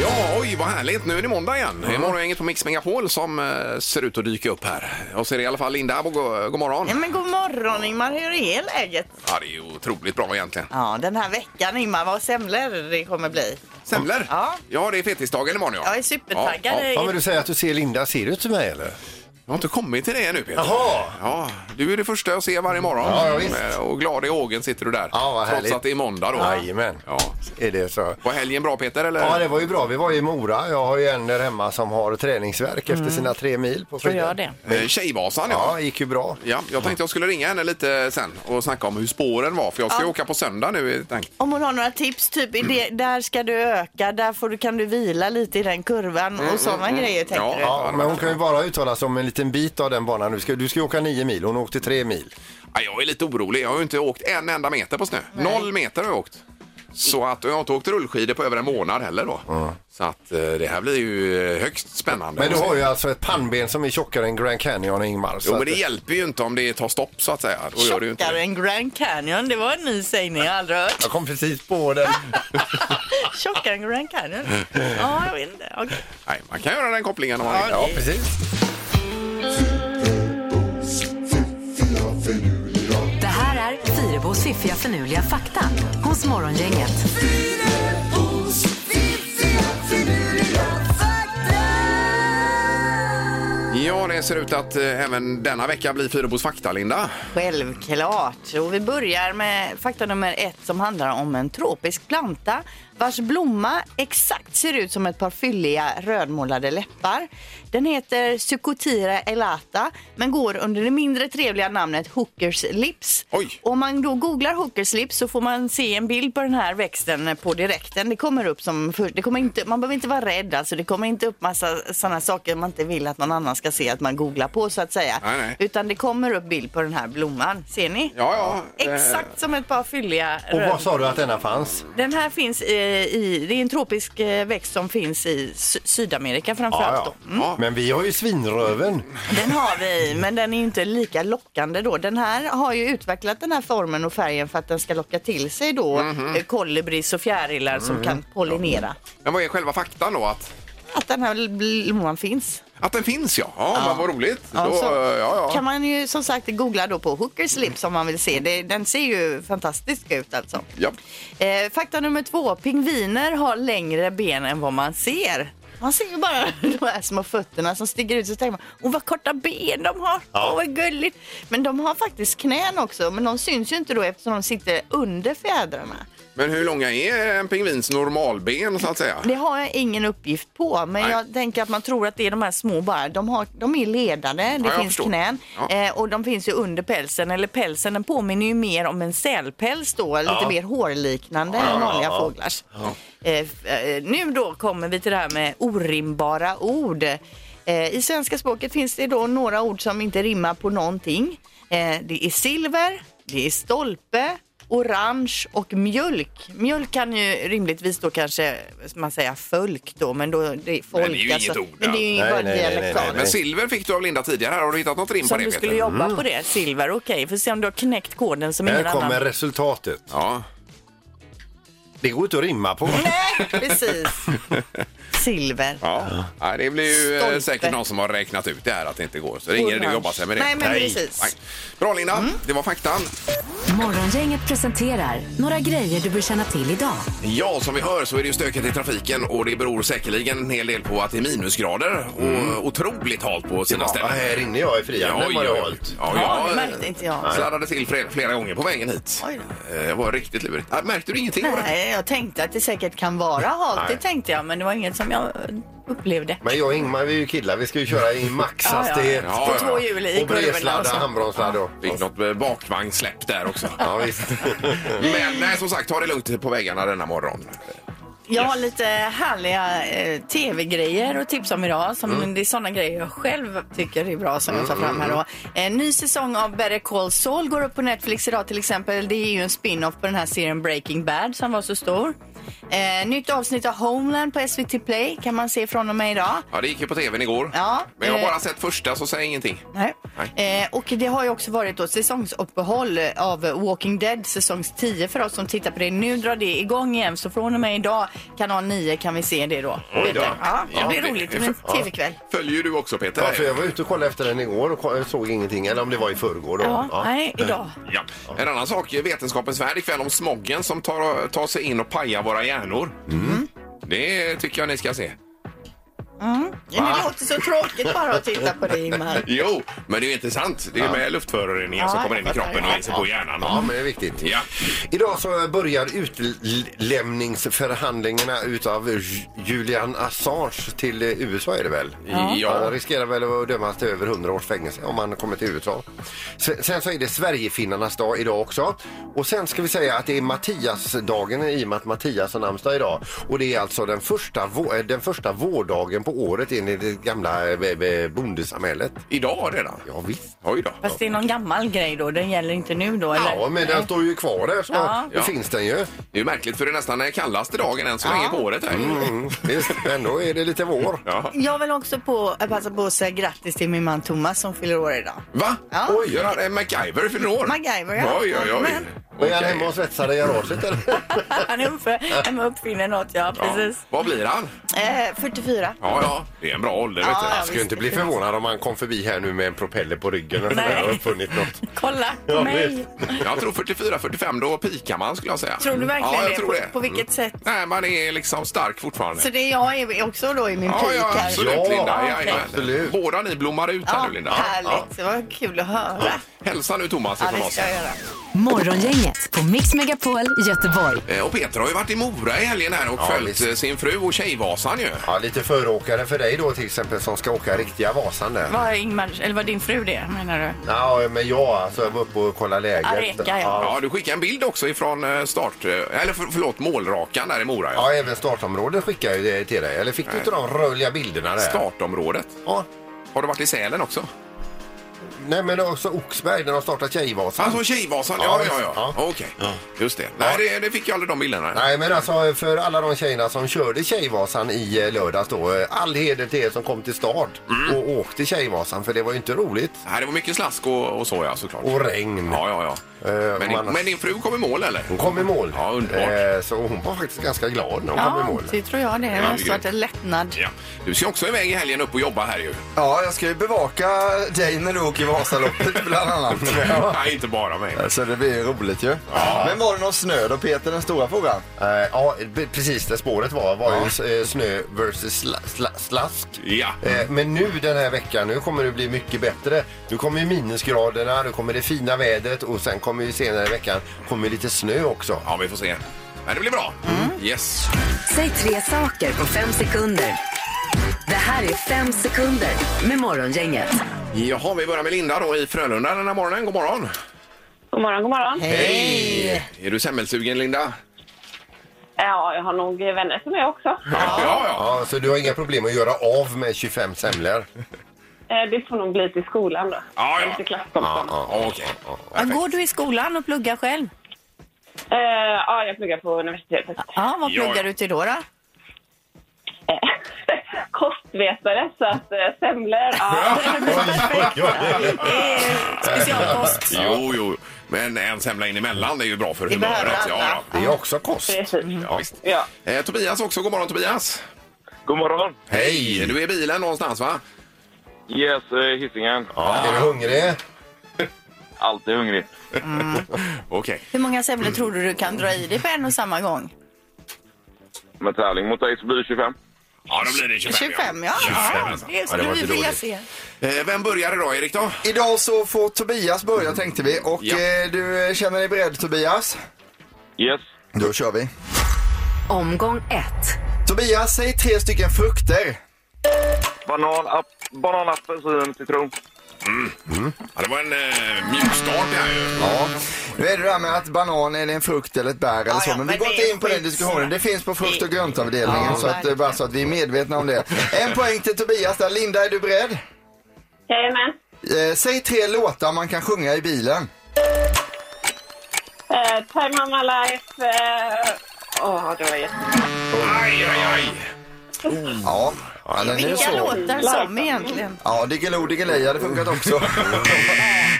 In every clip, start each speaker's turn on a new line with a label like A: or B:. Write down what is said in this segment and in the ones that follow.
A: Ja, oj vad härligt. Nu är det måndag igen. Det är morgongänget på Mix Megapol som eh, ser ut att dyka upp här. Och så är det i alla fall Linda. God, god morgon.
B: Ja, men god morgon Ingmar, hur är läget?
A: Ja, det är ju otroligt bra egentligen.
B: Ja, den här veckan Ingmar, vad semlor det kommer bli.
A: Semlor?
B: Ja.
A: ja, det är fettisdagen imorgon ja.
B: Jag är supertaggad. eh,
A: Ja, ja.
C: Ja, men du säger att du ser Linda. Ser du ut som mig eller?
A: Jag har inte kommit till det ännu Peter.
C: Jaha.
A: Ja, du är det första jag ser varje morgon.
C: Ja, ja, visst.
A: Eh, Och glad i ågen sitter du där.
C: Ja, vad härligt.
A: Trots att det är måndag då.
C: Jajamän.
A: Ja.
C: Är det så?
A: Var helgen bra Peter? Eller?
C: Ja, det var ju bra. Vi var i Mora. Jag har ju en där hemma som har träningsverk
B: Mm.
C: efter sina tre mil på skidor.
D: gör det.
A: Eh, Tjejvasan ja.
C: Ja, gick ju bra.
A: Ja, jag tänkte jag skulle ringa henne lite sen och snacka om hur spåren var för jag ska ju åka på söndag nu. i tanken.
B: Om hon har några tips, typ i det, där ska du öka, där får du, kan du vila lite i den kurvan Mm, och sådana grejer tänker
A: Mm, Ja,
B: du?
A: ja.
C: Ja, men hon kan ju bara uttala sig om en liten bit av den banan. Du ska, du ska ju åka nio mil. Hon åkte tre mil.
A: Ja, jag är lite orolig. Jag har ju inte åkt en enda meter på snö. Noll meter har jag åkt. Så att och jag har inte åkt rullskidor på över en månad heller då. Så att eh, det här blir ju eh, högst spännande.
C: Mm. Men du har ju alltså ett pannben som är tjockare än Grand Canyon, Ingmar. Så
A: Jo, men
C: att-
A: det hjälper ju inte om det tar stopp så att säga. Då gör det ju inte
B: Tjockare
A: det.
B: än Grand Canyon, det var en ny sägning jag aldrig hört.
C: Jag kom precis på den.
B: Tjockare än Grand Canyon? Ja, jag vet inte. Okej.
A: Nej, man kan göra den kopplingen om man vill.
C: Ja, precis.
D: Det här är Fyrabos fiffiga förnuliga fakta hos Morgongänget.
A: Ja, det ser ut att eh, även denna vecka blir Fyrebos fakta, Linda.
B: Självklart. Och vi börjar med fakta nummer ett som handlar om en tropisk planta vars blomma exakt ser ut som ett par fylliga rödmålade läppar. Den heter Sucotira elata men går under det mindre trevliga namnet hookers lips.
A: Oj.
B: Och om man då googlar hookers lips så får man se en bild på den här växten på direkten. Det kommer upp som för, det kommer inte, man behöver inte vara rädd alltså. Det kommer inte upp massa sådana saker man inte vill att någon annan ska se att man googlar på så att säga.
A: Nej, nej.
B: Utan det kommer upp bild på den här blomman. Ser ni?
A: Ja, Eh. ja.
B: Exakt som ett par fylliga
C: Och
B: röd-
C: vad sa du att denna fanns?
B: Den här finns i, i, det är en tropisk eh, växt som finns i Sy- Sydamerika framförallt
C: Ja,
B: då. Mm.
C: ja. Men vi har ju svinröven.
B: Den har vi, men den är ju inte lika lockande då. Den här har ju utvecklat den här formen och färgen för att den ska locka till sig då
A: Mhm.
B: eh, kolibris och fjärilar
C: Mm.
B: som kan pollinera.
A: Men vad är själva faktan då? Att,
B: Att den här blomman finns.
A: att den finns, ja. Ja, men vad roligt.
B: Ja,
A: då,
B: så
A: eh, ja, ja.
B: kan man ju som sagt googla då på hookers lips om man vill se. Det, den ser ju fantastisk ut alltså.
A: Ja.
B: Eh, fakta nummer två. Pingviner har längre ben än vad man ser. Man ser ju bara de här små fötterna som sticker ut. Så tänker man, åh vad korta ben de har. Åh vad gulligt. Men de har faktiskt knän också. Men de syns ju inte då eftersom de sitter under fjädrarna.
A: Men hur långa är en pingvins normalben så att säga?
B: Det har jag ingen uppgift på, men
A: Nej.
B: jag tänker att man tror att det är de här små bara. De, har, de är ledande, det
A: jag
B: finns
A: förstår.
B: knän
A: Ja.
B: eh, och de finns ju under pälsen. Eller pälsen, den påminner ju mer om en sälpäls då, lite mer hårliknande än vanliga fåglars. Eh, f- eh, nu då kommer vi till det här med orimbara ord. Eh, I svenska språket finns det då några ord som inte rimmar på någonting. Eh, det är silver, det är stolpe, orange och mjölk. Mjölk kan ju rimligtvis då kanske man säga fölk då, men då det är folk
A: Men det är ju
B: alltså.
A: inget ord,
B: Men det är ju
C: Nej, nej,
B: bara
C: nej, nej,
B: dialektalt.
C: nej. Mm.
A: Men silver fick du av Linda tidigare. här. Har du hittat något rim
B: Så
A: på
B: om
A: det
B: du skulle
A: Peter?
B: jobba på det, silver, okej. Får se om du har knäckt koden som
C: Här
B: ingen annan.
C: kommer resultatet.
A: Ja.
C: Det går inte att rimma på.
B: Nej, precis. Silver.
A: Ja. Nej, det blir ju eh,
B: Stolpe.
A: säkert någon som har räknat ut det här att det inte går. Så det är ingen idé att
B: Orange.
A: jobba sig med det.
B: Nej, men precis. Mm.
A: Nej. Bra Linda, det var faktan.
D: Morgongänget presenterar några grejer du bör känna till idag.
A: Ja, som vi hör så är det ju stökigt i trafiken och det beror säkerligen en hel del på att det är minusgrader och otroligt halt på sina
C: Mm. Ja,
A: ställen.
C: här inne jag i frihamnen var det halt.
A: ja,
B: Ja,
A: jag,
B: det märkte inte jag.
A: eh, sladdade till flera, flera gånger på vägen hit.
B: Oj
A: Eh, Det var riktigt lurigt. Ah, Märkte du ingenting? av det?
B: Nej, jag tänkte att det säkert kan vara halt, det tänkte jag, men det var inget som jag upplevde.
C: Men jag och Ingmar, vi är ju killar. Vi ska ju köra i maxhastighet.
B: Ja,
A: ja. På två
B: hjul i
C: Och
B: kurvorna och
C: bredsladd
B: så.
C: och handbromsladd. och-
A: Fick något eh, bakvagnsläpp där också. eh,
C: Ja, visst.
A: Men nej, som sagt, ta det lugnt på vägarna denna morgon.
B: Jag har lite härliga eh, tv-grejer och tips om idag. Som,
A: Mm.
B: Det är sådana grejer jag själv tycker är bra som jag tar fram här då. En ny säsong av Better Call Saul går upp på Netflix idag till exempel. Det är ju en spin-off på den här serien Breaking Bad som var så stor. Eh, nytt avsnitt av Homeland på SVT Play kan man se från och med idag.
A: Ja, det gick ju på tvn igår.
B: Ja,
A: Men jag har
B: eh.
A: bara sett första så säg ingenting.
B: Nej.
A: Nej.
B: Eh, och det har ju också varit då säsongsuppehåll av Walking Dead säsong 10 för oss som tittar på det. Nu drar det igång igen så från och med idag kanal 9 kan vi se det då. Mm.
E: Oj då.
B: Ja, det
A: Ja,
B: blir
A: det-
B: roligt.
A: det-
B: Det blir en tv-kväll.
A: Följer ju du också Peter?
C: Ja, för jag var ute och kollade efter den igår och ko- såg ingenting. Eller om det var i förrgår då.
B: Ja,
C: Ja.
B: nej, idag.
A: Ja. En annan sak är Vetenskapens värld ikväll om smoggen som tar, tar sig in och pajar våra hjärnor.
B: Mm.
A: Det tycker jag ni ska se.
B: Det låter så tråkigt bara att titta på det Ingmar.
A: Jo, men det är ju intressant. Det är med luftföroreningar som
B: Ja,
A: kommer in i
B: jag fattar.
A: kroppen och
B: Ja,
A: in sig på hjärnan.
C: Ja, men det är viktigt.
A: Ja.
C: Idag så börjar utlämningsförhandlingarna utav J- Julian Assange till eh, USA är det väl?
A: Ja.
C: Han riskerar väl att dömas till över 100 års fängelse om han kommer till USA. Se- Sen så är det Sverigefinnarnas dag idag också. Och sen ska vi säga att det är Mattiasdagen i och med att Mattias har namnsdag idag. Och det är alltså den första, vå- eh, den första vårdagen på året enligt det gamla eh, eh, bondesamhället.
A: Idag redan?
C: Ja, visst.
A: Oj då.
B: Fast det är någon gammal grej då. Den gäller inte nu då eller?
C: Ja, men den står ju kvar där så
B: Ja.
C: då finns den ju.
A: Det är ju märkligt för det är nästan den kallaste dagen än så länge på året. Här.
C: Mm, visst, ändå är det lite vår.
A: Ja.
B: Jag vill också på, eh, passa på att säga grattis till min man Thomas som fyller år idag.
A: Va?
B: Ja.
A: Oj, gör han eh, MacGyver fyller år?
B: MacGyver, ja.
A: Oj, oj, oj.
B: Men-
C: Och är han
A: Okej.
C: hemma och svetsar i garaget eller?
B: Han är uppf- hemma och uppfinner något, ja
A: Ja.
B: precis.
A: Vad blir han?
B: Eh, 44.
A: Ja, ja, det är en bra ålder. Vet
B: Ja,
A: du.
C: Skulle inte bli förvånad om han kom förbi här nu med en propeller på ryggen och
B: Nej.
C: har uppfunnit något.
B: Kolla på
C: Ja,
B: mig.
C: visst.
A: Jag tror 44-45, då pikar man skulle jag säga.
B: Tror du verkligen
A: ja, jag
B: det?
A: Tror
B: På-
A: det? Mm.
B: på vilket sätt?
A: Nej, man är liksom stark fortfarande.
B: Så det jag är också då i min
A: Ja,
B: peak
A: ja,
B: här.
A: absolut
C: Ja,
A: Linda. Ja,
B: okej.
A: ja,
C: Absolut.
A: Båda ni blommar ut här
B: Ja,
A: nu Linda.
B: Härligt, det var kul att höra.
A: Hälsa nu Thomas
B: Ja,
A: ifrån
B: det
A: oss.
B: ska jag göra.
D: Morgongänget på Mix Megapol Göteborg.
A: Eh, Och Peter har ju varit i Mora i helgen här och
C: Ja,
A: följt
C: visst.
A: eh, sin fru och Tjejvasan ju.
C: Ja, lite föråkare för dig då till exempel som ska åka riktiga Vasan där.
B: Var Ingmar, eller var din fru det menar du?
C: Ja, men jag alltså, jag var uppe och kollade läget.
B: Areka, ja.
A: Ja, du skickade en bild också ifrån eh, start... eh, Eller för, förlåt, målrakan där i Mora. Ja. Eh,
C: Ja, även startområdet skickade jag ju till dig. Eller fick du inte de rörliga bilderna där?
A: Startområdet.
C: Ja.
A: Har du varit i Sälen också?
C: Nej, men också Oxberg där de startat Tjejvasan.
A: Alltså Tjejvasan,
C: Ja,
A: ja, ja,
C: visst.
A: ja.
C: Ja.
A: Okej, just det. Nej, det, det fick jag aldrig de bilderna.
C: Nej men alltså för alla de tjejerna som körde Tjejvasan i eh, lördags då. eh, All heder till er som kom till start och åkte Tjejvasan för det var ju inte roligt.
A: Mm. Nej, det var mycket slask och, och så ja, såklart.
C: Och regn.
A: Ja, ja, ja.
C: Eh,
A: Men,
C: man-
A: din, men din fru kom i mål eller?
C: Hon kom i mål.
A: Ja, underbart.
C: Eh, så hon var faktiskt ganska glad när hon kom i
B: Ja,
C: mål.
B: det tror jag det. Det
A: Ja,
B: måste
A: det är
B: varit en lättnad.
A: Ja. Du ska också iväg i helgen upp och jobba här ju.
F: Ja, jag ska ju bevaka dig när du åker Vasaloppet bland annat.
A: Nej, inte bara mig.
F: Så det blir ju roligt ju. Men var det någon snö då Peter, den stora frågan?
C: Eh, ja, be- precis där spåret var var ju eh, snö versus sla, sla, slask.
A: Ja.
C: Eh, men nu den här veckan, nu kommer det bli mycket bättre. Nu kommer ju minusgraderna, nu kommer det fina vädret och sen kommer ju senare i veckan kommer lite snö också. Mm.
A: Ja, vi får se. Men det blir bra. Yes.
D: Säg tre saker på fem sekunder. Det här är fem sekunder med Morgongänget.
A: Jaha, vi börjar med Linda då i Frölunda den här morgonen. God morgon.
G: God morgon, god morgon.
A: Hej! Är du semmelsugen Linda?
G: Ja, jag har nog vänner som är också.
A: Ja, ja.
C: Ja, så du har inga problem att göra av med 25 semlor?
G: Eh, Det får nog bli till skolan då.
A: Ja, ja.
G: Till klasskompisen.
A: ja. Okej.
B: Ja, går du i skolan och pluggar själv?
G: Eh, Ja, jag pluggar på universitetet.
B: Ja, vad
A: Ja,
B: pluggar
A: ja.
B: du till då? då?
G: Eh, Kostvetare, så att eh, semlor. Ja.
B: Eh, Specialkost.
A: Jo, jo. Men en semla in emellan är ju bra för humöret.
B: behöver alla.
A: Ja, Mm.
C: Det är också kost.
G: Precis.
A: ja, visst.
G: Ja.
A: Eh, Tobias också. God morgon Tobias.
E: God morgon.
A: Hej! Du är i bilen någonstans va?
E: Yes, eh, Hisingen.
C: Är du hungrig?
E: Alltid hungrig.
F: Mm.
A: Okej.
B: Hur många semlor tror du du kan dra i dig på en och samma gång?
E: Med tävling mot dig så blir det 25.
A: Ja, då blir det 25.
B: 25, ja. ja. Det
C: Ja, det
B: skulle
C: var
B: vi
C: inte
B: vilja
C: dåligt.
B: se.
A: Eh, Vem börjar idag Erik då?
F: Idag Mm. så får Tobias börja tänkte vi och
A: Ja.
F: eh, du eh, känner dig beredd Tobias?
E: Yes.
F: Då kör vi.
D: Omgång ett.
F: Tobias, säg tre stycken frukter.
E: Banan, ap- banan apelsin, citron.
A: Mm. Ja, det var en eh, mjuk start det här ju.
F: Ja. Nu är det det här med att banan är en frukt eller ett bär eller
B: Ja,
F: så,
B: ja,
F: men vi
B: men
F: går
B: det
F: inte
B: är
F: in på den
B: skitsnack.
F: diskussionen. Det finns på frukt och
B: Det-
F: gröntavdelningen
B: Ja,
F: så att, eh,
B: verkligen.
F: bara så att vi är medvetna om det. En poäng till Tobias där. Linda, är du beredd?
G: Jajamän.
F: Eh, säg tre låtar man kan sjunga i bilen.
G: Eh, Time of my life. eh, Åh, det var jätte...
A: Aj, aj, aj.
F: Ja, ja den är ju
B: Vilka
F: så.
B: låtar som egentligen?
F: Ja, Diggiloo Diggiley hade funkat också.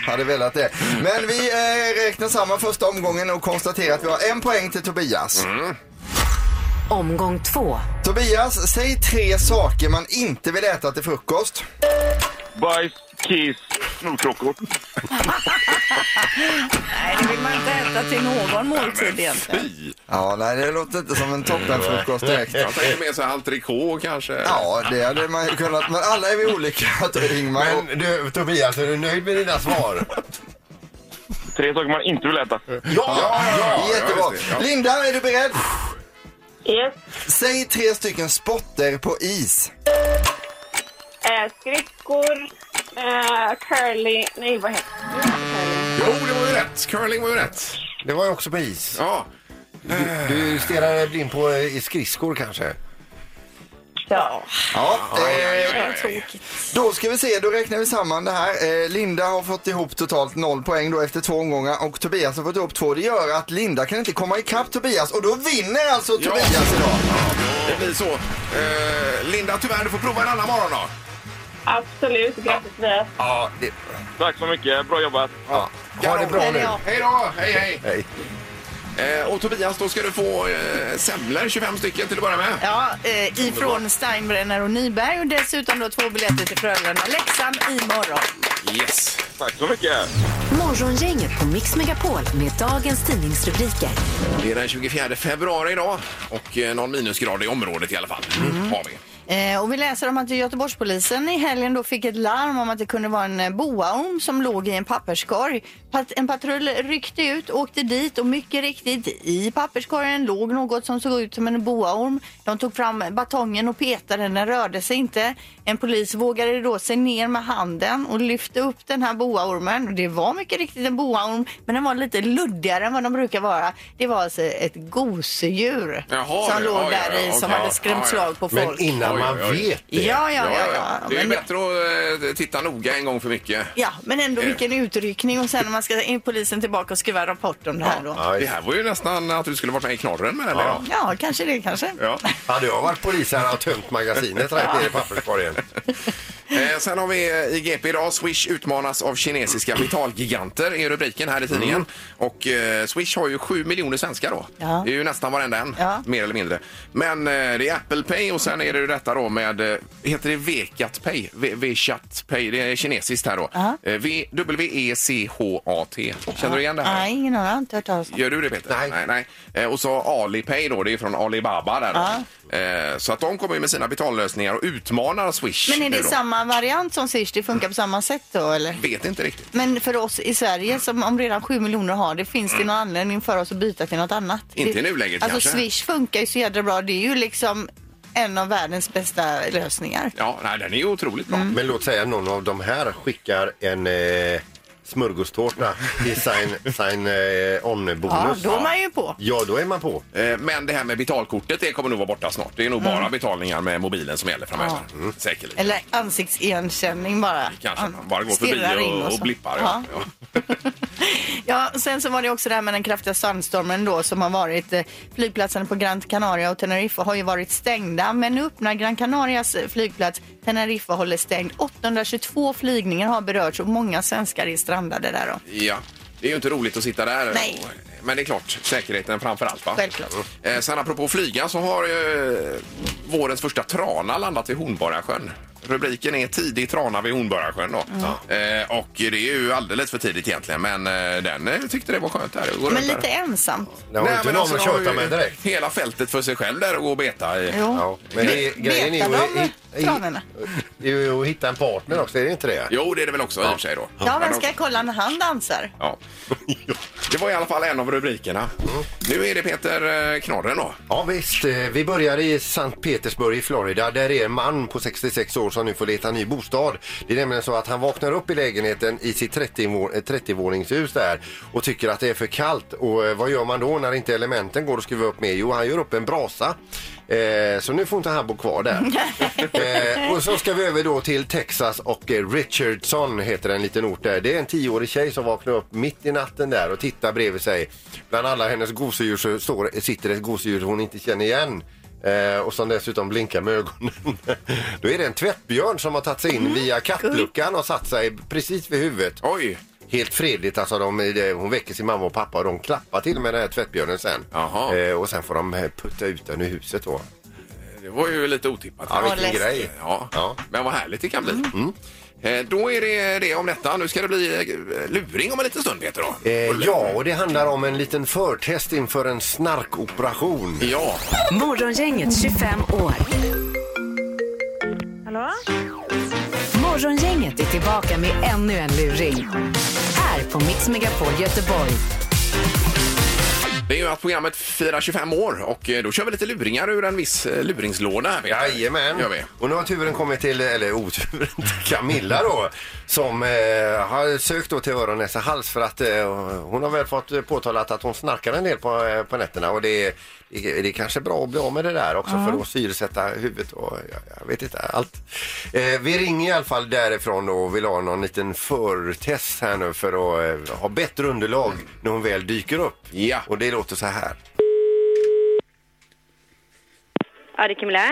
F: hade velat det. Men vi eh, räknar samman första omgången och konstaterar att vi har en poäng till Tobias.
A: Mm.
D: Omgång två.
F: Tobias, säg tre saker man inte vill äta till frukost.
E: Bajs, kiss, snorkrockor.
B: Nej, det vill man inte äta till någon måltid egentligen.
A: Fy.
F: Ja, nej, det låter inte som en toppenfrukost direkt.
A: Jag tänker mer så här altrikot kanske.
F: Ja, det hade man ju kunnat, men alla är vi olika. Ingmar. och-
C: Men du, Tobias, är du nöjd med dina svar?
E: Tre saker man inte vill äta.
C: Ja!
F: Jättebra.
A: just det, ja.
F: Linda, är du beredd?
G: Yes.
F: Säg tre stycken spotter på is.
G: Eh, Skridskor. eh, Curly. Nej, vad heter det?
A: Jo, det var ju rätt. Curling var ju rätt.
C: Det var ju också på is.
A: Ja.
C: Du stirrar dig blind på eh, i skridskor kanske?
G: Ja.
F: Ja, eh,
B: Tråkigt.
F: då ska vi se, då räknar vi samman det här. Eh, Linda har fått ihop totalt noll poäng då efter två omgångar och Tobias har fått ihop två. Det gör att Linda kan inte komma ikapp Tobias och då vinner alltså Tobias idag.
A: Det blir så. Eh, Linda, tyvärr, du får prova en annan morgon då.
G: Absolut. Grattis, Tobias.
C: Ja, det,
E: Tack så mycket. Bra jobbat.
C: ja. Ha det bra nu.
A: Hej då! Hej, hej!
C: Hej.
A: Eh, och Tobias, då ska du få eh, semlor, 25 stycken till att börja med.
B: Ja, eh, ifrån Steinbrenner och Nyberg och dessutom då två biljetter till Frölunda och Leksand imorgon.
A: Yes.
E: Tack så mycket.
D: Morgongänget på Mix Megapol med dagens tidningsrubriker.
A: Det är den 24 februari idag och eh, någon minusgrad i området i alla fall. Har vi.
B: Eh, och vi läser om att Göteborgspolisen i helgen då fick ett larm om att det kunde vara en eh, boaorm som låg i en papperskorg. Pat- en patrull ryckte ut, åkte dit och mycket riktigt i papperskorgen låg något som såg ut som en boaorm. De tog fram batongen och petade, den rörde sig inte. En polis vågade då sig ner med handen och lyfte upp den här boaormen. Och det var mycket riktigt en boaorm, men den var lite luddigare än vad de brukar vara. Det var alltså ett gosedjur
A: Jaha,
B: som
A: ja,
B: låg
A: ja,
B: där i,
A: ja,
B: som
A: okej.
B: hade skrämt
A: Ja, ja.
B: slag på
C: Men
B: folk.
C: innan
A: Oj,
C: man
A: oj, oj.
C: vet det.
B: Ja, ja, ja. ja,
A: Det är ju
B: Men,
A: bättre att eh, titta noga en gång för mycket.
B: ja, men ändå
A: Eh.
B: vilken utryckning och sen när man ska in polisen tillbaka och skriva rapport om det här då.
C: Ja,
A: Det här var ju nästan att du skulle varit med i knorren med den där.
B: Ja, kanske det kanske.
A: Ja.
C: Hade jag varit polis hade jag tömt magasinet rätt ner i
A: Ah.
C: papperskorgen.
A: Eh, sen har vi eh, i GP idag, Swish utmanas av kinesiska kapitalgiganter är rubriken här i tidningen. Och eh, Swish har ju 7 miljoner svenskar då.
B: Mm. Ja.
A: Det är ju nästan varenda en,
B: Ja.
A: mer eller mindre. Men eh, det är Apple Pay och sen är det ju detta då med, eh, heter det Vekat Pay? Ve- Vechat Pay, det är kinesiskt här då.
B: Ja.
A: Eh, v- W-E-C-H-A-T. Känner du igen det här?
B: Nej, ingen annan. Jag har inte hört talas om.
A: Gör du det Peter?
C: Nej.
A: nej, Eh, Och så Alipay då, det är från Alibaba där då. Eh, Så att de kommer ju med sina betallösningar och utmanar Swish.
B: Men är
A: nu
B: det
A: då.
B: samma variant som Swish? Det funkar på samma sätt då eller?
A: Vet inte riktigt.
B: Men för oss i Sverige som om redan 7 miljoner har det, finns det någon anledning för oss att byta till något annat?
A: Mm. Inte i
B: Det-
A: nuläget
B: Alltså
A: kanske.
B: Swish funkar ju så jädra bra. Det är ju liksom en av världens bästa lösningar.
A: Ja, nej, den är ju otroligt
B: Mm.
A: bra.
C: Men låt säga någon av de här skickar en eh, smörgåstårta i sin, sin eh,
B: Ja,
C: on-bonus.
B: då är man ju på.
C: Ja, då är man på.
A: Eh, Men det här med betalkortet det kommer nog vara borta snart. Det är nog
B: Mm.
A: bara betalningar med mobilen som gäller framöver. Mm. Säkerligen.
B: Eller ansiktsigenkänning bara.
A: Kanske man bara går
B: Stirrar
A: förbi
B: in
A: och, och
B: så.
A: blippar. Ja.
B: Ja.
A: Ja.
B: Ja, sen så var det också det här med den kraftiga sandstormen då som har varit. eh, Flygplatserna på Gran Canaria och Teneriffa har ju varit stängda men nu öppnar Gran Canarias eh, flygplats. Teneriffa håller stängd. 822 flygningar har berörts och många svenskar är strandade där då.
A: Ja. Det är ju inte roligt att sitta där.
B: Nej.
A: Men det är klart, säkerheten framför allt. Va?
B: Självklart.
A: Eh, sen apropå flyga så har eh, vårens första trana landat vid Hornborgasjön. Rubriken är Tidig trana vid Hornborgasjön. Då.
B: Mm.
A: Eh, och det är ju alldeles för tidigt egentligen men eh, den eh, tyckte det var skönt. Där. Det går
B: Men
A: runt där.
B: lite ensamt.
C: Det har inte någon
A: alltså,
C: att
A: de har
C: köta
A: ju
C: med direkt.
A: Hela fältet för sig själv där och gå och beta i.
B: Jo.
C: Ja, men det,
B: Be-
C: grejen är ju
B: betar
C: att-
B: de tranorna?
C: det är ju att hitta en partner också, är det inte det?
A: Jo, det är det väl också i och för sig då.
B: Ja,
A: Men
B: men ska jag kolla när han dansar?
A: ja. Det var i alla fall en av rubrikerna.
C: Mm.
A: Nu är det Peter eh, Knorren då.
C: Ja visst, Eh, vi börjar i Sankt Petersburg i Florida. Där är en man på 66 år som nu får leta ny bostad. Det är nämligen så att han vaknar upp i lägenheten i sitt 30-vå- eh, 30-våningshus där och tycker att det är för kallt. Och eh, vad gör man då när inte elementen går att skruva upp med? Jo, han gör upp en brasa. Eh, så nu får inte han bo kvar där. eh, och så ska vi över då till Texas och eh, Richardson heter en liten ort där. Det är en tioårig tjej som vaknar upp mitt i natten där och tittar bredvid sig. Bland alla hennes gosedjur så står, sitter ett gosedjur hon inte känner igen. Eh, och som dessutom blinkar med ögonen. Då är det en tvättbjörn som har tagit sig
A: Mm,
C: in via kattluckan och satt sig precis vid huvudet.
A: Oj!
C: Helt fredligt. Alltså de, eh, hon väcker sin mamma och pappa och de klappar till med den här tvättbjörnen sen.
A: Jaha.
C: Eh, och sen får de eh, putta ut den ur huset då.
A: Det var ju lite otippat.
C: Ja, vilken
B: läskigt.
C: grej.
A: Ja.
C: Ja. Mm.
A: Men vad härligt det kan bli.
B: Mm.
A: Eh, Då är det det om detta. Nu ska det bli eh, luring om en liten stund, Peter. Då.
C: Eh, ja, och det handlar om en liten förtest inför en snarkoperation.
A: Ja.
D: Morgongänget 25 år.
G: Hallå?
D: Morgongänget är tillbaka med ännu en luring. Här på Mix Megapol Göteborg.
A: Det är ju att programmet firar 25 år och eh, då kör vi lite luringar ur en viss eh, luringslåda. här, Peter.
C: Jajamän.
A: Gör vi.
C: Och nu har turen kommit till, eller oturen, till Camilla då. Som eh, har sökt då till öron, näsa, hals för att eh, hon har väl fått eh, påtalat att hon snarkar en del på, eh, på nätterna. Och det är, det är- det är kanske bra att bli av med det där också för att syresätta huvudet och jag, jag vet inte allt. Eh, vi ringer i alla fall därifrån då och vill ha någon liten förtest här nu för att eh, ha bättre underlag när hon väl dyker upp.
A: Ja.
C: Och det låter så här.
G: Ja, det är Camilla.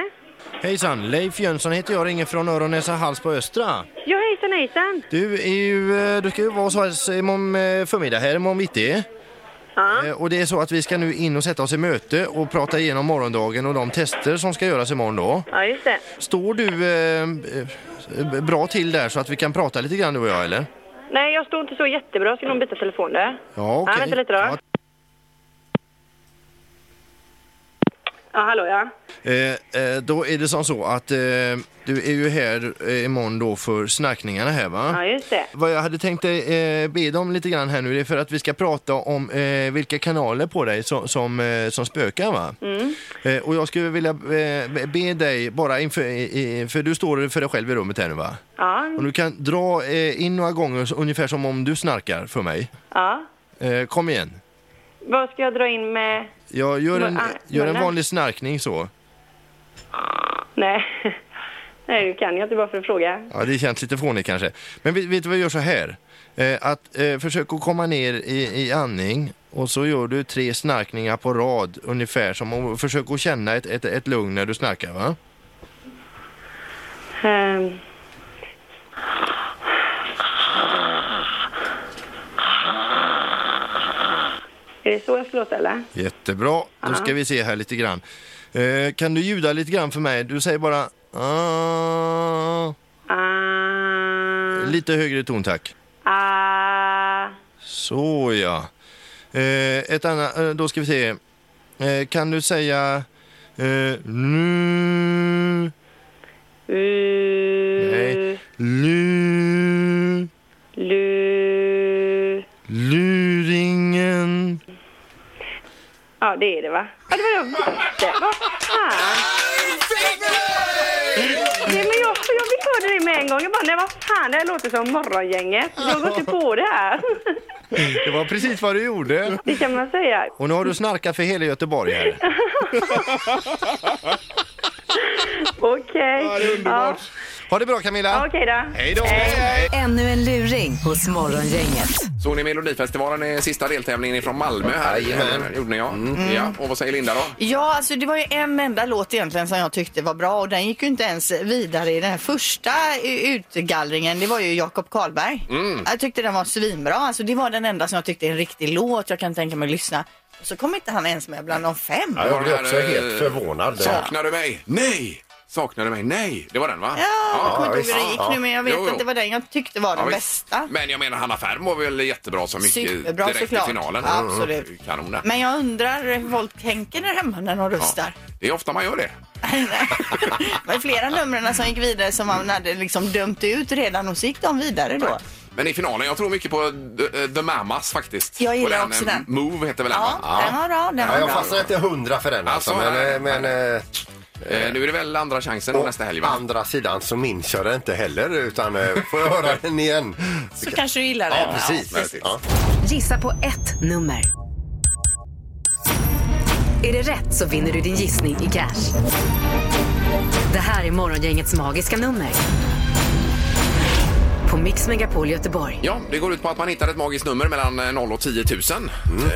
H: Hejsan, Leif Jönsson heter jag, ringer från Öronäsa Hals på Östra.
G: Ja, hejsan, hejsan.
H: Du, är ju, eh, du ska ju vara så här imorgon eh, förmiddag här imorgon bitti.
G: Ja.
H: Eh, Och det är så att vi ska nu in och sätta oss i möte och prata igenom morgondagen och de tester som ska göras imorgon då.
G: Ja, just det.
H: Står du eh, eh, bra till där så att vi kan prata lite grann du och jag eller?
G: Nej, jag står inte så jättebra. Ska någon byta telefon där?
H: Ja, okej.
G: Ja, vänta lite då. Ja, hallå ja.
H: Eh, eh, då är det som så att eh, du är ju här eh, imorgon då för snackningarna här va?
G: Ja, just det.
H: Vad jag hade tänkt eh, be dig om lite grann här nu, det är för att vi ska prata om eh, vilka kanaler på dig som, som, eh, som spökar va?
G: Mm.
H: Eh, och jag skulle vilja eh, be dig bara inför, i- i- för du står för dig själv i rummet här nu va?
G: Ja,
H: Och du kan dra eh, in några gånger så- ungefär som om du snarkar för mig.
G: ja.
H: Eh, kom igen.
G: Vad ska jag dra in med?
H: Jag gör en,
G: Va- ah,
H: gör en
G: munnen?
H: vanlig snarkning så.
G: Nej. Nej, det kan jag inte bara för att fråga.
H: Ja, det känns lite fånigt kanske. Men vet, vet du vad jag gör så här? Eh, att eh, försök att komma ner i, i andning och så gör du tre snarkningar på rad ungefär som om, försök att känna ett, ett, ett lugn när du snarkar va?
G: Ehm. Är det så jag ska låta eller?
H: Jättebra, då ska vi se här lite grann. Eh, kan du ljuda lite grann för mig? Du säger bara ah,
G: Ah,
H: lite högre ton tack.
G: ah,
H: Så ja. Eh, ett annat, eh, då ska vi se. Eh, kan du säga eh, nu?
G: u,
H: Nej. Lu,
G: lu.
H: luringen.
G: Ja, det är det va? Ja, det var jag visste. Vad fan? Nej, men jag, jag fick höra det med en gång. Jag bara, nej vad fan, det här låter som Morgongänget. Jag har gått ju på det här.
H: Det var precis vad du gjorde.
G: Det kan man säga.
H: Och nu har du snarkat för hela Göteborg här.
G: Okej. Ja,
H: Ha det bra Camilla.
G: Okej då.
H: Hej då.
D: Ännu en luring hos Morgongänget.
A: Såg ni Melodifestivalen i sista deltävlingen från Malmö? Här
C: Jajamän. Mm.
A: gjorde ni ja. ja. Och vad säger Linda då?
B: Ja, alltså det var ju en enda låt egentligen som jag tyckte var bra och den gick ju inte ens vidare i den här första eh, utgallringen. Det var ju Jakob
C: Mm.
B: Karlberg.
A: Mm.
B: Jag tyckte den var svinbra. Alltså det var den enda som jag tyckte är en riktig låt. Jag kan tänka mig att lyssna. Så kom inte han ens med bland de fem.
C: Ja, jag blev också
A: eh,
C: helt förvånad.
A: Saknar du mig? Nej! Saknar du mig? Nej! Det var den va?
B: Ja, jag kommer inte
C: visst.
B: ihåg hur det gick
C: Ja,
B: nu men jag vet
A: Jo, jo.
B: att det var den jag tyckte var den
A: visst.
B: bästa.
A: Men jag menar Hanna Färm var väl jättebra som mycket
B: Superbra
A: direkt
B: såklart.
A: i finalen.
B: Absolut.
A: Mm, Kanon där.
B: Men jag undrar hur folk tänker där hemma när de
A: ja.
B: röstar.
A: Det är ofta man gör det.
B: Det var ju flera numren som gick vidare som man hade liksom dömt ut redan och så gick de vidare då.
A: Men i finalen, jag tror mycket på eh, The Mamas faktiskt.
B: Jag gillar
A: Och
B: också
A: eh,
B: den.
A: Move heter väl den
B: Ja,
A: va?
B: den var bra. Den
C: Ja,
B: var
C: jag
B: bra.
C: fastnar inte hundra för den alltså,
A: Alltså,
C: men,
A: nej,
C: men
A: nej.
C: eh,
A: Eh, nu är det väl andra chansen då nästa helg va?
C: Andra sidan så minns jag det inte heller utan eh, får jag höra den igen.
B: Så kanske du gillar
C: Ja,
B: den.
C: precis. Ja.
D: Gissa på ett nummer. Är det rätt så vinner du din gissning i cash. Det här är Morgongängets magiska nummer. På Mix Megapol Göteborg.
A: Ja, det går ut på att man hittar ett magiskt nummer mellan eh, 0 och 10 000.
C: Mm.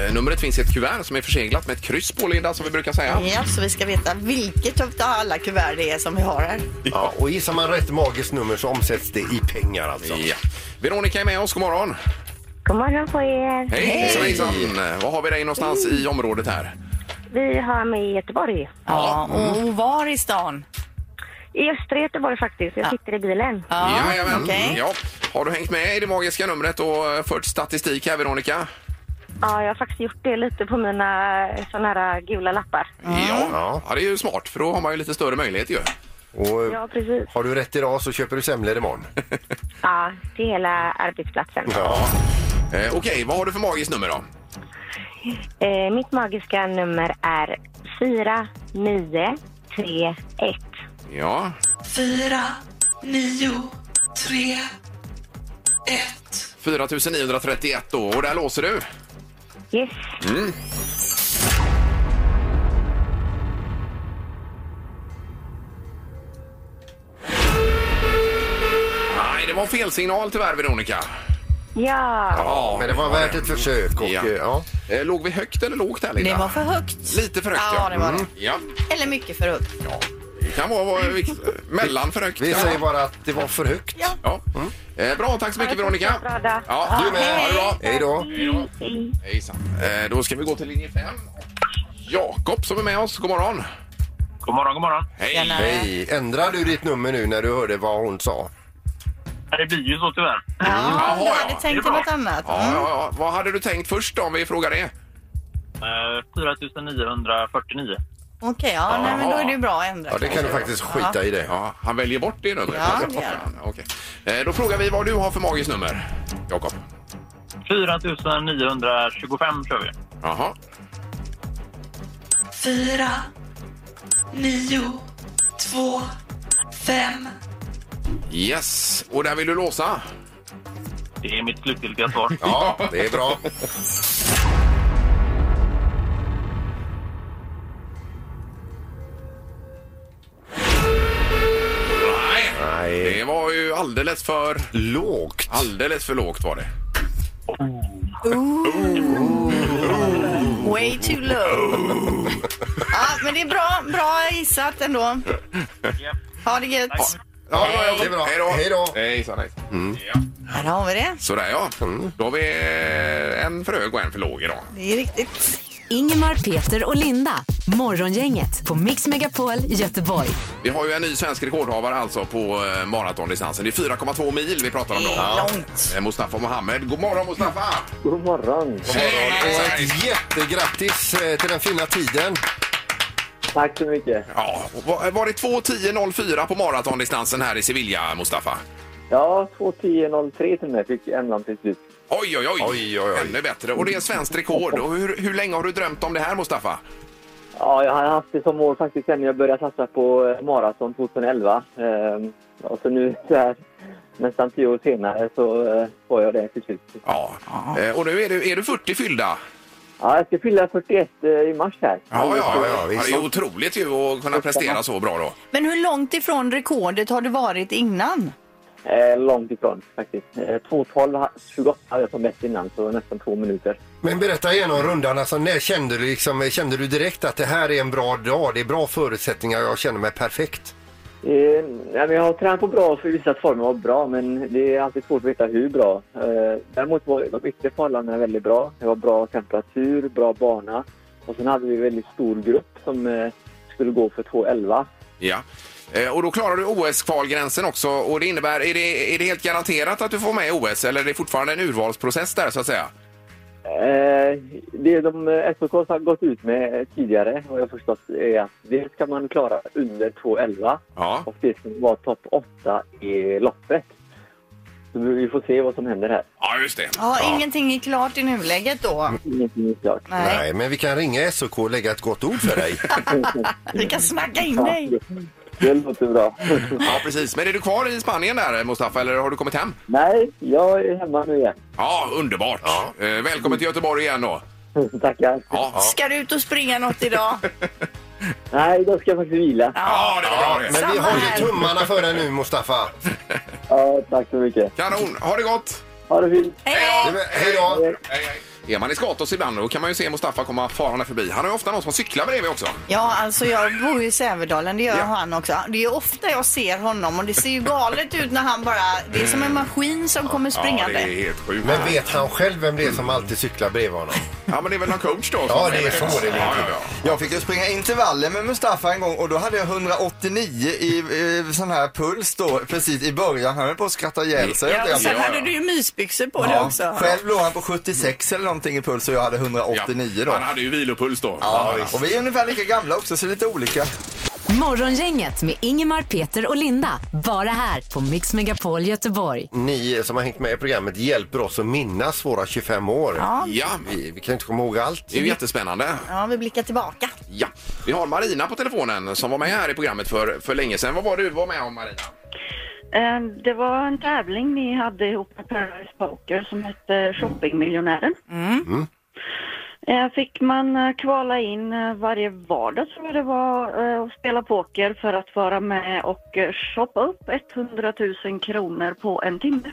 A: Eh, numret finns i ett kuvert som är förseglat med ett kryss på, Linda, som vi brukar säga.
B: Ja, så vi ska veta vilket av alla kuvert det är som vi har här.
C: Ja, och gissar man rätt magiskt nummer så omsätts det i pengar alltså.
A: Ja. Veronica är med oss, god morgon.
I: God morgon på er.
A: Hej! Hejsan, hejsan. Eh, Var har vi dig någonstans i området här?
I: Vi har med i Göteborg.
B: Ja, Mm. och var i stan?
I: I östra Göteborg faktiskt. Jag sitter i bilen.
A: Jajamän.
I: okej.
A: ja. Har du hängt med i det magiska numret och eh, fört statistik här, Veronica?
I: Ja, jag har faktiskt gjort det lite på mina såna här gula lappar.
A: Ja. ja. det är ju smart, för då har man ju lite större möjlighet ju. Mm.
C: Och eh,
I: Ja, precis.
C: har du rätt idag så köper du semlor imorgon.
I: Ja, till hela arbetsplatsen.
C: Ja.
A: Eh, Okej, vad har du för magiskt nummer då?
I: Eh, mitt magiska nummer är 4931.
A: Ja.
I: 4, 9, 3.
A: 4931 då, och där låser du?
I: Yes.
A: Mm. Nej, det var fel signal tyvärr, Veronica.
I: Ja.
C: men det var värt ett försök. Och, eh, ja.
A: Eh, Låg vi högt eller lågt här, Linda?
B: Det var för högt.
A: Lite för högt,
B: Ja, det var det.
A: Ja, Mm.
B: Eller mycket för högt.
A: det kan vara vara vikt- mellan för högt.
C: Vi
A: Ja.
C: säger bara att det var för högt.
B: Ja.
A: Mm. Eh, Bra, tack så mycket, Veronica. Ja,
I: Ja,
A: du med. Ha det bra.
C: Hej då.
I: Hej.
A: Hejsan. Eh, Då ska vi gå till linje 5. Jakob som är med oss. God morgon.
E: God morgon, god morgon.
A: Hej.
B: Tjena.
C: Hej. Ändrar du ditt nummer nu när du hörde vad hon sa?
E: Det blir ju så tyvärr.
B: Ja,
A: Jaha,
B: du hade
A: ja.
B: tänkt dig något annat. Mm.
A: Ja, ja, ja. Vad hade du tänkt först då, om vi frågar det?
E: 4949.
B: Okej, ja, nej, men då är det ju bra att ändra.
C: Ja, det kan du faktiskt skita i det.
A: Ja, han väljer bort det numret.
B: Ja, det gör
A: han. Okej. Eh, Då frågar vi vad du har för magiskt nummer, Jakob.
E: 4925 kör vi.
A: Jaha.
J: 4, 9, 2, 5.
A: Yes. Och där vill du låsa?
E: Det är mitt slutgiltiga svar.
C: Ja, det är bra.
A: Nej.
C: Nej.
A: Det var ju alldeles för...
C: Lågt.
A: Alldeles för lågt var det.
B: Way too low. Ja, men det är bra, bra gissat ändå. Ha det gött.
C: Ja, det är bra.
A: Hej då.
C: Hej då.
A: Hejsan, hejsan.
E: Mm.
B: Här har vi det.
A: Sådär ja.
C: Mm.
A: Då har vi eh, en för hög och en för låg idag.
B: Det är riktigt.
D: Ingemar, Peter och Linda. Morgongänget på Mix Megapol Göteborg.
A: Vi har ju en ny svensk rekordhavare alltså på eh, maratondistansen. Det är 4,2 mil vi pratar om då.
B: Det är långt.
A: Eh, Mustafa Mohamed. God morgon Mustafa!
K: God morgon.
C: Och ett jättegrattis eh, till den fina tiden.
K: Tack så mycket.
A: Ja, och var var det 2.10.04 på maratondistansen här i Sevilla, Mustafa?
K: Ja, 2.10.03 till mig fick ämnan till slut.
A: Oj, oj, oj,
C: Oj, oj, oj.
A: Ännu bättre. Och det är svenskt rekord. Och hur, hur länge har du drömt om det här, Mustafa?
K: Ja, jag har haft det som mål faktiskt sen jag började satsa på eh, maraton 2011. Ehm, och så nu så här, nästan tio år senare så eh, får jag det till slut.
A: Ja. Eh, Och nu är du, är du 40 fyllda.
K: Ja, jag ska fylla 41 eh, i mars här.
A: ja. Det är ju otroligt ju att kunna prestera så bra då.
B: Men hur långt ifrån rekordet har du varit innan?
K: Eh, Långt ifrån faktiskt. Eh, 2.12.28 hade jag som bäst innan, så nästan två minuter.
C: Men berätta igen om rundan. Alltså, när kände du, liksom, kände du direkt att det här är en bra dag? Det är bra förutsättningar. Jag känner mig perfekt.
K: Eh, nej, men jag har tränat på bra och för visat formen var bra, men det är alltid svårt att veta hur bra. Eh, däremot var de yttre förhållandena väldigt bra. Det var bra temperatur, bra bana och sen hade vi en väldigt stor grupp som eh, skulle gå för 2.11.
A: Ja. Eh, Och då klarar du OS-kvalgränsen också. Och det innebär, är det, är det helt garanterat att du får med i OS eller är det fortfarande en urvalsprocess där så att säga?
K: Eh, det de eh, SOK har gått ut med eh, tidigare, och jag har förstått, är att det ska man klara under 2.11
A: Ja.
K: och det ska vara topp 8 i loppet. Så vi vi får se vad som händer här.
A: Ja, just det.
B: Ja, ingenting är klart i nuläget då.
K: Ingenting Mm, är klart.
B: Nej.
C: Nej, men vi kan ringa SOK och lägga ett gott ord för dig.
B: Vi
K: Mm.
B: kan snacka in dig.
K: Det låter bra.
A: Ja, precis. Men är du kvar i Spanien där, eh, Mustafa, eller har du kommit hem?
K: Nej, jag är hemma nu igen.
A: Ja, underbart. Eh, Välkommen till Göteborg igen då.
K: Tackar.
A: Ja, ja.
B: Ska du ut och springa något idag?
K: Nej, då ska jag faktiskt vila.
A: Ja, det var bra det.
C: Men vi håller tummarna för dig nu, Mustafa.
K: Ja, tack så mycket.
A: Kanon. Ha det gott!
K: Ha det fint.
C: Det är väl- Hej då!
A: Är man i Skatås ibland då kan man ju se Mustafa komma farande förbi. Han har ju ofta någon som cyklar bredvid också.
B: Ja, alltså jag bor ju i Sävedalen, det gör han också. Det är ofta jag ser honom och det ser ju galet ut när han bara... Det är som en maskin som kommer
A: Ja, det
B: springande.
A: är helt sjukt.
C: Men vet han själv vem det är som alltid cyklar bredvid honom?
A: Ja, men det är väl någon coach då? som
C: Ja, det är
A: med.
C: så det ligger
A: Ja, ja,
C: till.
A: ja.
F: Jag fick ju springa intervaller med Mustafa en gång och då hade jag 189 i, eh, sån här puls då precis i början. Han höll på att skratta ihjäl sig.
B: Ja,
F: åt
B: och
F: det.
B: sen hade du ju mysbyxor på dig
F: Ja,
B: också.
F: Själv låg han på 76 eller någonting i puls och jag hade 189 då.
A: Han hade ju vilopuls då.
F: Ja, och vi är ungefär lika gamla också så det är lite olika.
D: Morgongänget med Ingemar, Peter och Linda. Bara här på Mix Megapol Göteborg.
C: Ni som har hängt med i programmet hjälper oss att minnas våra 25 år.
A: Ja,
C: Vi, vi kan inte komma ihåg allt.
A: det är ju jättespännande.
B: Ja, vi blickar tillbaka.
A: Ja. Vi har Marina på telefonen som var med här i programmet för, för länge sedan. Vad var det du var med om Marina?
I: Eh, Det var en tävling ni hade ihop med Paradise Poker som hette Shoppingmiljonären.
B: Mm.
I: Eh, Fick man eh, kvala in eh, varje vardag tror jag det var eh, och spela poker för att vara med och eh, shoppa upp 100 000 kronor på en timme.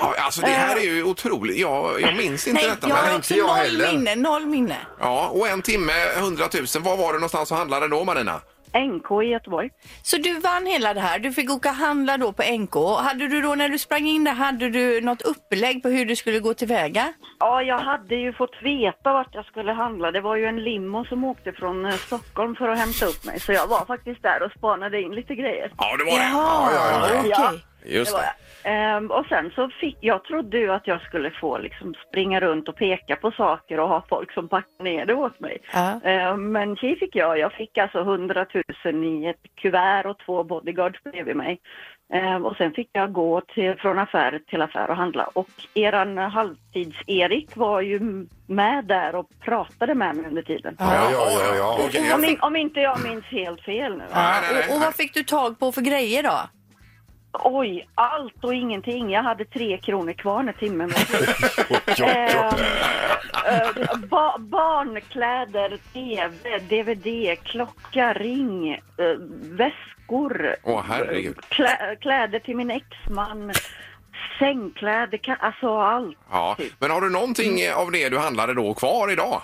A: Ja, alltså det här är ju otroligt. Jag, jag minns inte
B: Eh. Nej,
A: detta.
B: jag
A: men-
B: har också
C: jag
B: noll
C: heller.
B: minne, noll minne.
A: Ja, och en timme, 100 000. Var var du någonstans och handlade då Marina?
I: NK i Göteborg.
B: Så du vann hela det här. Du fick åka och handla då på NK. Hade du då när du sprang in där, hade du något upplägg på hur du skulle gå tillväga?
I: Ja, jag hade ju fått veta vart jag skulle handla. Det var ju en limo som åkte från eh, Stockholm för att hämta upp mig. Så jag var faktiskt där och spanade in lite grejer.
A: Ja, det var det.
B: Jaha,
I: Ja.
B: okej.
A: Just det.
I: Ehm, och sen så fick, jag trodde ju att jag skulle få liksom springa runt och peka på saker och ha folk som packade ner det åt mig.
B: Ja.
I: Ehm, men tji fick jag. Jag fick alltså 100 000 i ett kuvert och två bodyguards bredvid mig. Ehm, och sen fick jag gå till, från affär till affär och handla. Och eran halvtids-Erik var ju m- med där och pratade med mig under tiden.
C: Ja, ja, ja. ja.
A: Okej,
I: Om,
A: jag-
I: in, om inte jag minns helt fel nu.
A: Nej, nej,
B: Och, och
A: nej.
B: vad fick du tag på för grejer då?
I: Oj, allt och ingenting. Jag hade tre kronor kvar när timmen var slut.
C: ja.
I: Eh, eh, ba- barnkläder, tv, dvd, klocka, ring, eh, väskor,
A: Åh, herregud.
I: klä- kläder till min exman, sängkläder, ka- alltså allt.
A: Ja. Men har du någonting av det du handlade då kvar idag?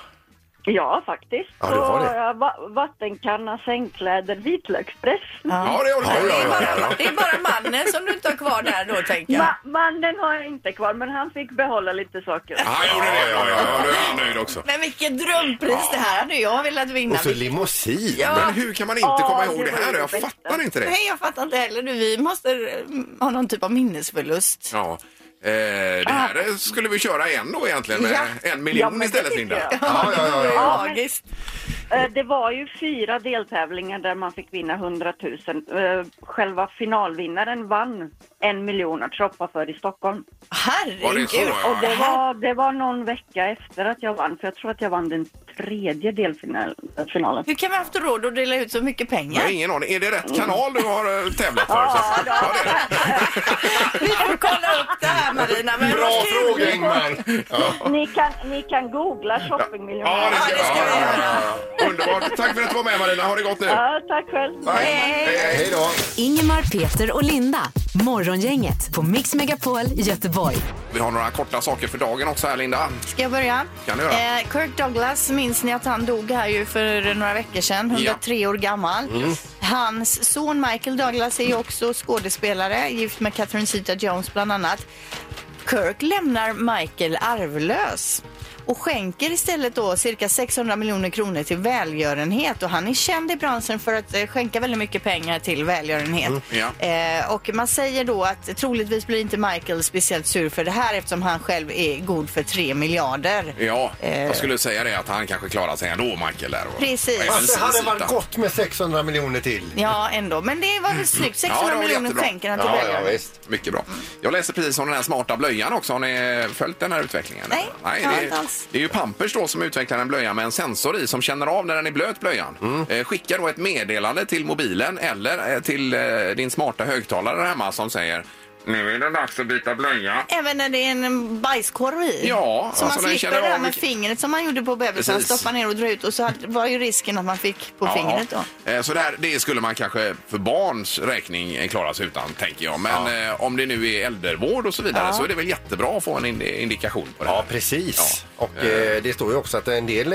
I: Ja, faktiskt.
C: Ja, du har det.
I: Och, eh, va- vattenkanna, sängkläder, vitlökspress.
A: Ja, det har du.
C: Ja,
B: Det
C: ja,
B: är,
C: ja, ja.
B: bara, det är bara mannen som du inte har kvar där då, tänker jag.
I: Ma- mannen har jag inte kvar, men han fick behålla lite saker.
A: Han gjorde det. Ja, ja, ja. Nu är han nöjd också.
B: Men vilket drömpris det här hade jag velat vinna.
C: Och så limousin.
B: Ja.
A: Men hur kan man inte
I: Ja,
A: komma
I: det
A: ihåg det
I: var
A: här?
I: ju
A: Jag
I: det bästa.
A: fattar inte det.
B: Nej, jag fattar inte heller. Du, vi måste eh, ha någon typ av minnesförlust.
A: Ja. Eh, det här skulle vi köra igen då egentligen med
B: Ja.
I: Ah.
A: en
I: Ja,
A: miljon
I: men det
A: istället
I: tycker
A: Linda.
I: jag.
C: Ja, ja, ja, ja.
I: Ja, men-
B: Magiskt.
I: Eh, Det var ju fyra deltävlingar där man fick vinna 100 000. Eh, Själva finalvinnaren vann en miljon att shoppa för i Stockholm.
A: Var det så?
B: Herregud.
A: Ja,
I: Och det var, det var någon vecka efter att jag vann, för jag tror att jag vann den tredje delfinalen.
B: Hur kan vi ha haft råd att dela ut så mycket
A: Jag har
B: pengar? Mm.
A: ingen aning. Är det rätt kanal du har eh, tävlat för?
I: Ja,
A: Så- Ja, det är det.
B: Vi får kolla upp det här Marina. Men
C: Bra
B: vad kul.
C: fråga, Ingmar. Ja.
I: Ni kan, ni kan googla shoppingmiljonär.
A: Ja, det ska,
B: Ja, det ska
A: ja, ja,
B: vi göra.
A: ja, ja. Underbart. Tack för att du var med Marina. Ha det gott nu.
I: Ja, tack själv.
C: Hej, hej då.
D: Ingemar, Peter och Linda. Morgongänget på Mix Megapol Göteborg.
A: Vi har några korta saker för dagen också här Linda.
B: Ska jag börja?
A: Kan du göra.
B: Eh, Kirk Douglas, minns ni att han dog här ju för några veckor sedan, 103 år gammal.
A: Mm.
B: Hans son Michael Douglas är ju också skådespelare, gift med Catherine Zeta-Jones bland annat. Kirk lämnar Michael arvlös och skänker istället då cirka 600 miljoner kronor till välgörenhet och han är känd i branschen för att eh, skänka väldigt mycket pengar till välgörenhet.
A: Mm,
B: Eh, och man säger då att troligtvis blir inte Michael speciellt sur för det här eftersom han själv är god för 3 miljarder.
A: Ja,
B: Eh.
A: jag skulle säga det att han kanske klarar sig ändå, Michael. Där och,
B: Precis.
A: och även
B: Fast det hade
A: Sisita.
B: varit
C: Gott med 600 miljoner till.
B: Ja, ändå. Men det var väl snyggt. 600
A: Ja, det var
B: miljoner
A: jättebra.
B: skänker han till välgörenhet.
A: visst. Mycket bra. Jag läser precis om den här smarta blöjan också. Har ni följt den här utvecklingen?
B: Nej, jag har
A: det,
B: inte
A: är,
B: alls.
A: det är ju Pampers då som utvecklar en blöja med en sensor i som känner av när den är blöt, blöjan.
C: Mm.
A: Eh, skickar då ett meddelande till mobilen eller eh, till eh, din smarta högtalare där hemma som säger nu är det dags att byta blöja.
B: Även när det är en bajskorv i?
A: Ja, alltså,
B: Så
A: den
B: man slipper
A: känner
B: det här
A: av
B: med
A: vilk-
B: fingret som man gjorde på bebisen.
A: Precis.
B: Stoppa ner och dra ut och så hade- var ju risken att man fick på
A: Ja.
B: fingret då.
A: Eh, Så det, här, det skulle man kanske för barns räkning eh, klara sig utan, tänker jag. Men eh, om det nu är äldrevård och så vidare
C: Ja.
A: så är det väl jättebra att få en indi- indikation på det. Ja,
C: precis. Och eh, det står ju också att en del,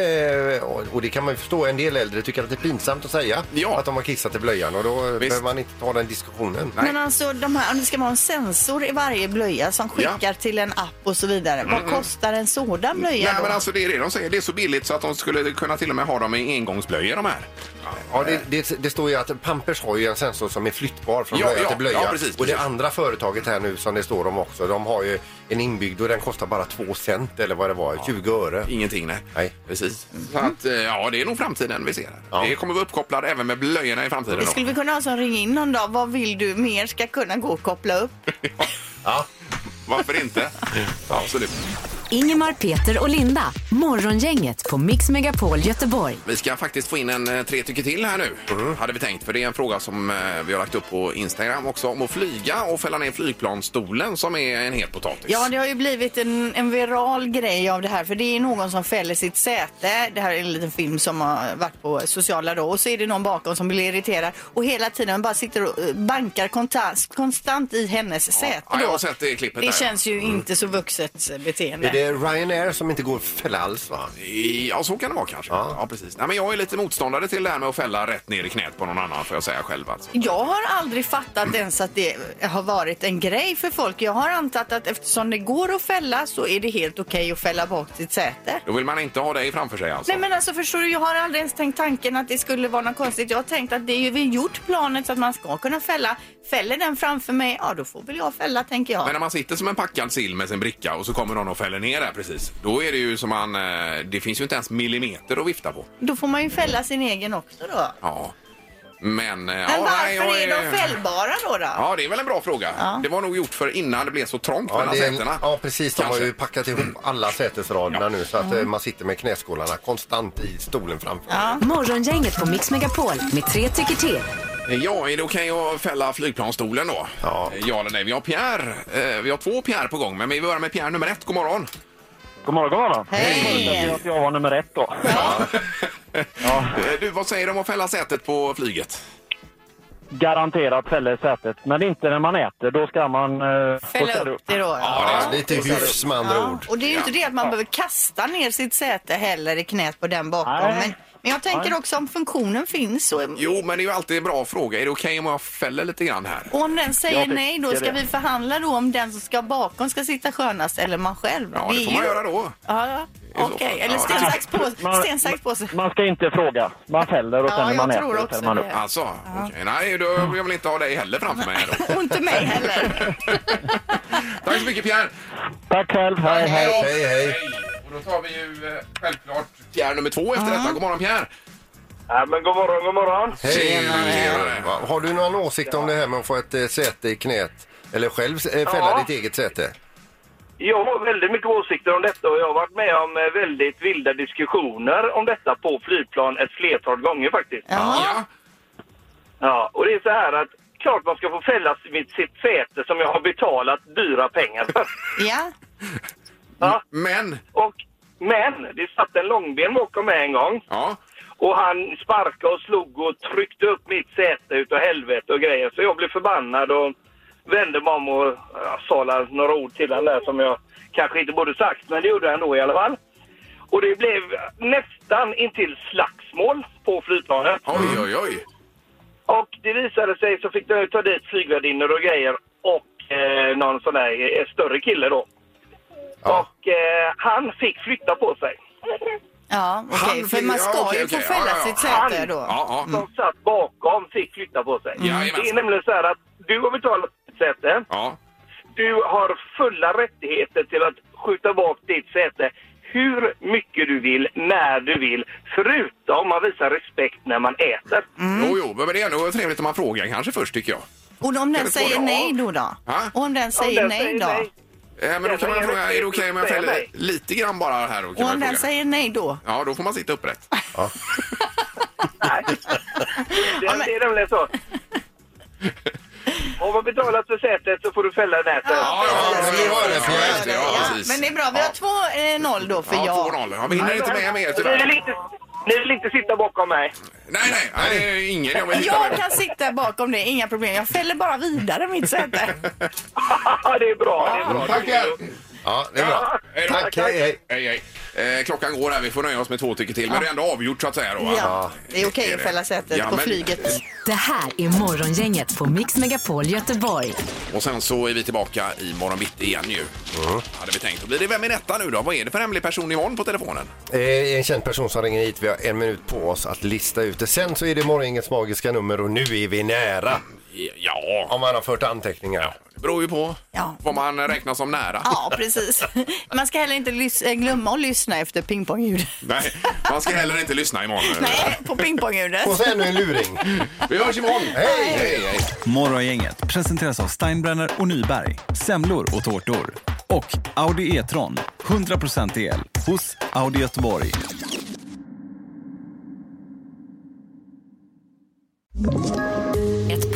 C: eh, och det kan man ju förstå, en del äldre tycker att det är pinsamt att säga att de har kissat i blöjan och då behöver man inte ta den diskussionen.
B: Men alltså de här, det ska vara en sensor i varje blöja som skickar till en app och så vidare. Vad
A: Mm.
B: kostar en sådan blöja
A: Nej,
B: då?
A: men alltså det är det de säger. Det är så billigt så att de skulle kunna till och med ha dem i engångsblöjor de här. Eh,
C: Ja, det, det, det står ju att Pampers har ju en sensor som är flyttbar från
A: Ja,
C: blöja
A: ja,
C: till blöja.
A: ja, precis,
C: och det
A: precis.
C: andra företaget här nu som det står om också, de har ju en inbyggd och den kostar bara två cent eller vad det var, 20 öre.
A: Ingenting nej.
C: nej.
A: Precis. Så att, eh, ja, det är nog framtiden vi ser. här. Det kommer vara uppkopplat även med blöjorna i framtiden.
B: det
A: då.
B: skulle vi kunna ha som ring in någon dag. Vad vill du mer ska kunna gå och koppla upp?
A: Ja, varför inte? Absolut.
D: Ingemar, Peter och Linda. Morgongänget på Mix Megapol Göteborg.
A: Vi ska faktiskt få in en eh, tre tycker till här nu,
C: Mm.
A: hade vi tänkt. För det är en fråga som eh, vi har lagt upp på Instagram också, om att flyga och fälla ner flygplansstolen som är en het potatis.
B: Ja, det har ju blivit en, en viral grej av det här. För det är någon som fäller sitt säte. Det här är en liten film som har varit på sociala då. Och så är det någon bakom som blir irriterad. Och hela tiden bara sitter och eh, bankar konta- konstant i hennes säte.
A: Ja,
B: då.
A: jag har sett det klippet
B: Det
A: där.
B: känns ju inte så vuxet eh, beteende.
C: Är det Ryanair som inte går att fälla alls va?
A: Ja, så kan det vara kanske. Ja. precis. Nej, men jag är lite motståndare till det här med att fälla rätt ner i knät på någon annan, får jag säga själv. Alltså.
B: Jag har aldrig fattat ens att det har varit en grej för folk. Jag har antagit att eftersom det går att fälla så är det helt okej att fälla bak sitt säte.
A: Då vill man inte ha dig framför sig alltså.
B: Nej men alltså förstår du, jag har aldrig ens tänkt tanken att det skulle vara något konstigt. Jag har tänkt att det är ju vi gjort planet så att man ska kunna fälla. Fäller den framför mig, ja då får väl jag fälla tänker jag.
A: Men när man sitter som en packad sill med sin bricka och så kommer någon och fäller ner där precis. Då är det ju som man... eh, Det finns ju inte ens millimeter att vifta på.
B: Då får man ju fälla sin egen också då.
A: Ja. Men... eh, ja,
B: men varför
A: nej, jag
B: är de fällbara då? då?
A: Ja, det är väl en bra fråga. Det var nog gjort för innan det blev så trångt
C: Ja,
A: mellan
C: det är-
A: sätena.
C: ja precis, de har
A: Kanske. Mm.
C: ju packat ihop alla sätesraderna nu så att eh, man sitter med knäskålarna konstant i stolen framför.
D: Morgongänget på Mix Megapol med tre tycker till.
A: Ja, är det okej att fälla flygplansstolen då? Ja. ja eller nej? Vi har Pierre. Eh, Vi har två Pierre på gång, men vi börjar med Pierre nummer ett. God morgon!
E: God morgon, god morgon. Hej! att jag var nummer ett då.
A: Eh, Du, vad säger du om att fälla sätet på flyget?
E: Garanterat fäller sätet, men inte när man äter. Då ska man... eh,
B: Fälla
E: ställa
B: upp det då.
C: Ja, lite hyfs med andra ord.
B: Och det är ju inte det att man behöver kasta ner sitt säte heller i knät på den bakom.
A: Nej.
B: Men, men jag tänker
A: Nej.
B: också om funktionen finns så
A: Jo, men det är ju alltid en bra fråga. Är det okej om jag fäller lite grann här?
B: Och om den säger
A: Jag
B: nej då
A: tycker
B: ska
A: det.
B: vi förhandla då om den som ska bakom ska sitta skönast eller man själv.
E: Ja, det
B: är
E: får man
B: ju-
E: göra då.
B: Ja, ja. okej. Eller
E: Ja,
B: sten,
E: det-
B: sax, påse.
E: Man-
B: Sten, sax, påse.
E: Man ska inte fråga. Man fäller och
B: Ja,
E: sen när
B: jag
E: man
B: tror
E: äter och
B: också
E: fäller man upp.
B: det.
A: Alltså, okej. nej, då, jag vill inte ha dig heller framför mig. här Då.
B: Och inte mig heller.
A: Tack så mycket Pierre!
E: Tack själv, hej, hej.
A: Hej, hej. Och då tar vi ju eh, självklart Pierre nummer två efter detta. God morgon Pierre!
L: Ja, men god morgon, god morgon.
C: Hej, Va- Mm. Har du någon åsikt om det här med att få ett eh, säte i knät? Eller själv eh, fälla
L: Ja.
C: ditt eget säte?
L: Jag har väldigt mycket åsikter om detta och jag har varit med om eh, väldigt vilda diskussioner om detta på flygplan ett flertal gånger faktiskt.
A: Ja.
L: Ja, och det är så här att klart man ska få fälla sitt, sitt säte som jag har betalat dyra pengar för.
B: Ja.
A: Men?
L: Och, men, det satt en långben bakom mig en gång.
A: Ja.
L: Och han sparkade och slog och tryckte upp mitt säte utav helvete och grejer. Så jag blev förbannad och vände mig om och ja, sa la- några ord till honom där som jag kanske inte borde sagt. Men det gjorde han då i alla fall. Och det blev nästan intill slagsmål på flygplanet. Mm.
A: Oj, oj, oj.
L: Och det visade sig så fick de ta dit flygvärdinnor och grejer och eh, någon sån där eh, större kille då. Och eh, han fick flytta på sig.
B: Ja, okej.
L: Han
B: för
L: fick-
B: man ska
L: ja, okej,
B: ju få
L: okej.
B: fälla
L: Ja, ja,
B: sitt
L: ja. Mm.
B: säte
L: Han
B: då.
L: som satt bakom fick flytta på sig.
A: Jajamensan.
L: Det är nämligen så här att du har betalat ditt säte. Du har fulla rättigheter till att skjuta bak ditt säte hur mycket du vill, när du vill, förutom man visar respekt när man äter.
B: Mm.
A: Jo, jo, men det är ändå trevligt om man frågar kanske först tycker jag.
B: Och om
A: Kan
B: den
A: vi få
B: säger
A: det?
B: nej då? då?
A: Ha?
B: Och om den säger nej då?
A: Eh, men då kan man
B: Jag
A: fråga, är det okej om jag
B: säger
A: fäller
B: nej.
A: lite grann bara här? Då, kan
B: Och
A: man
B: om den
A: fråga.
B: säger nej då?
A: Ja, då får man sitta upprätt.
L: Det, det är nämligen så. Har man betalat för sätet så får du fälla nätet. Ja,
B: Men det är bra, vi har 2-0 då för
L: Ja,
B: jag.
A: 2-0. Ja, vi hinner inte med mer
L: Ni vill
A: tyvärr.
L: inte, ni vill inte sitta bakom mig?
A: Nej, nej, nej, det är ingen jag vill hitta
B: Jag
A: med.
B: kan sitta bakom det, inga problem. Jag fäller bara vidare mitt säte.
L: det är bra.
A: Det är bra.
C: Ja,
A: det är bra.
C: Tack, hej, hej.
A: hej, hej. Eh, klockan går här, vi får nöja oss med två tycker till. Men
B: Ja.
A: det är ändå avgjort så att säga då. va?
B: Ja, det är okej
A: det.
B: att fälla sätet
A: Ja,
B: på
A: men-
B: flyget.
D: Det här är Morgongänget på Mix Megapol Göteborg.
A: Och sen så är vi tillbaka imorgon bitti igen ju.
C: Mm.
A: Hade vi tänkt. Och blir det Vem är detta nu då? Vad är det för hemlig person imorgon på telefonen?
C: Eh, En känd person som ringer hit. Vi har en minut på oss att lista ut det. Sen så är det morgongängets magiska nummer och nu är vi nära.
A: Ja.
C: Om man har fört anteckningar.
A: Det beror ju på vad man räknar som nära.
B: Ja, precis. Man ska heller inte lys- eh, glömma att lyssna efter pingpongljudet.
A: Nej, man ska heller inte lyssna imorgon.
B: Nej, på pingpongljudet.
C: luring.
A: Vi hörs imorgon.
C: Hej!
A: hej, hej.
M: Morgongänget presenteras av Steinbrenner och Nyberg. Semlor och tårtor. Och Audi E-tron. 100% el hos Audi Göteborg.
N: Ett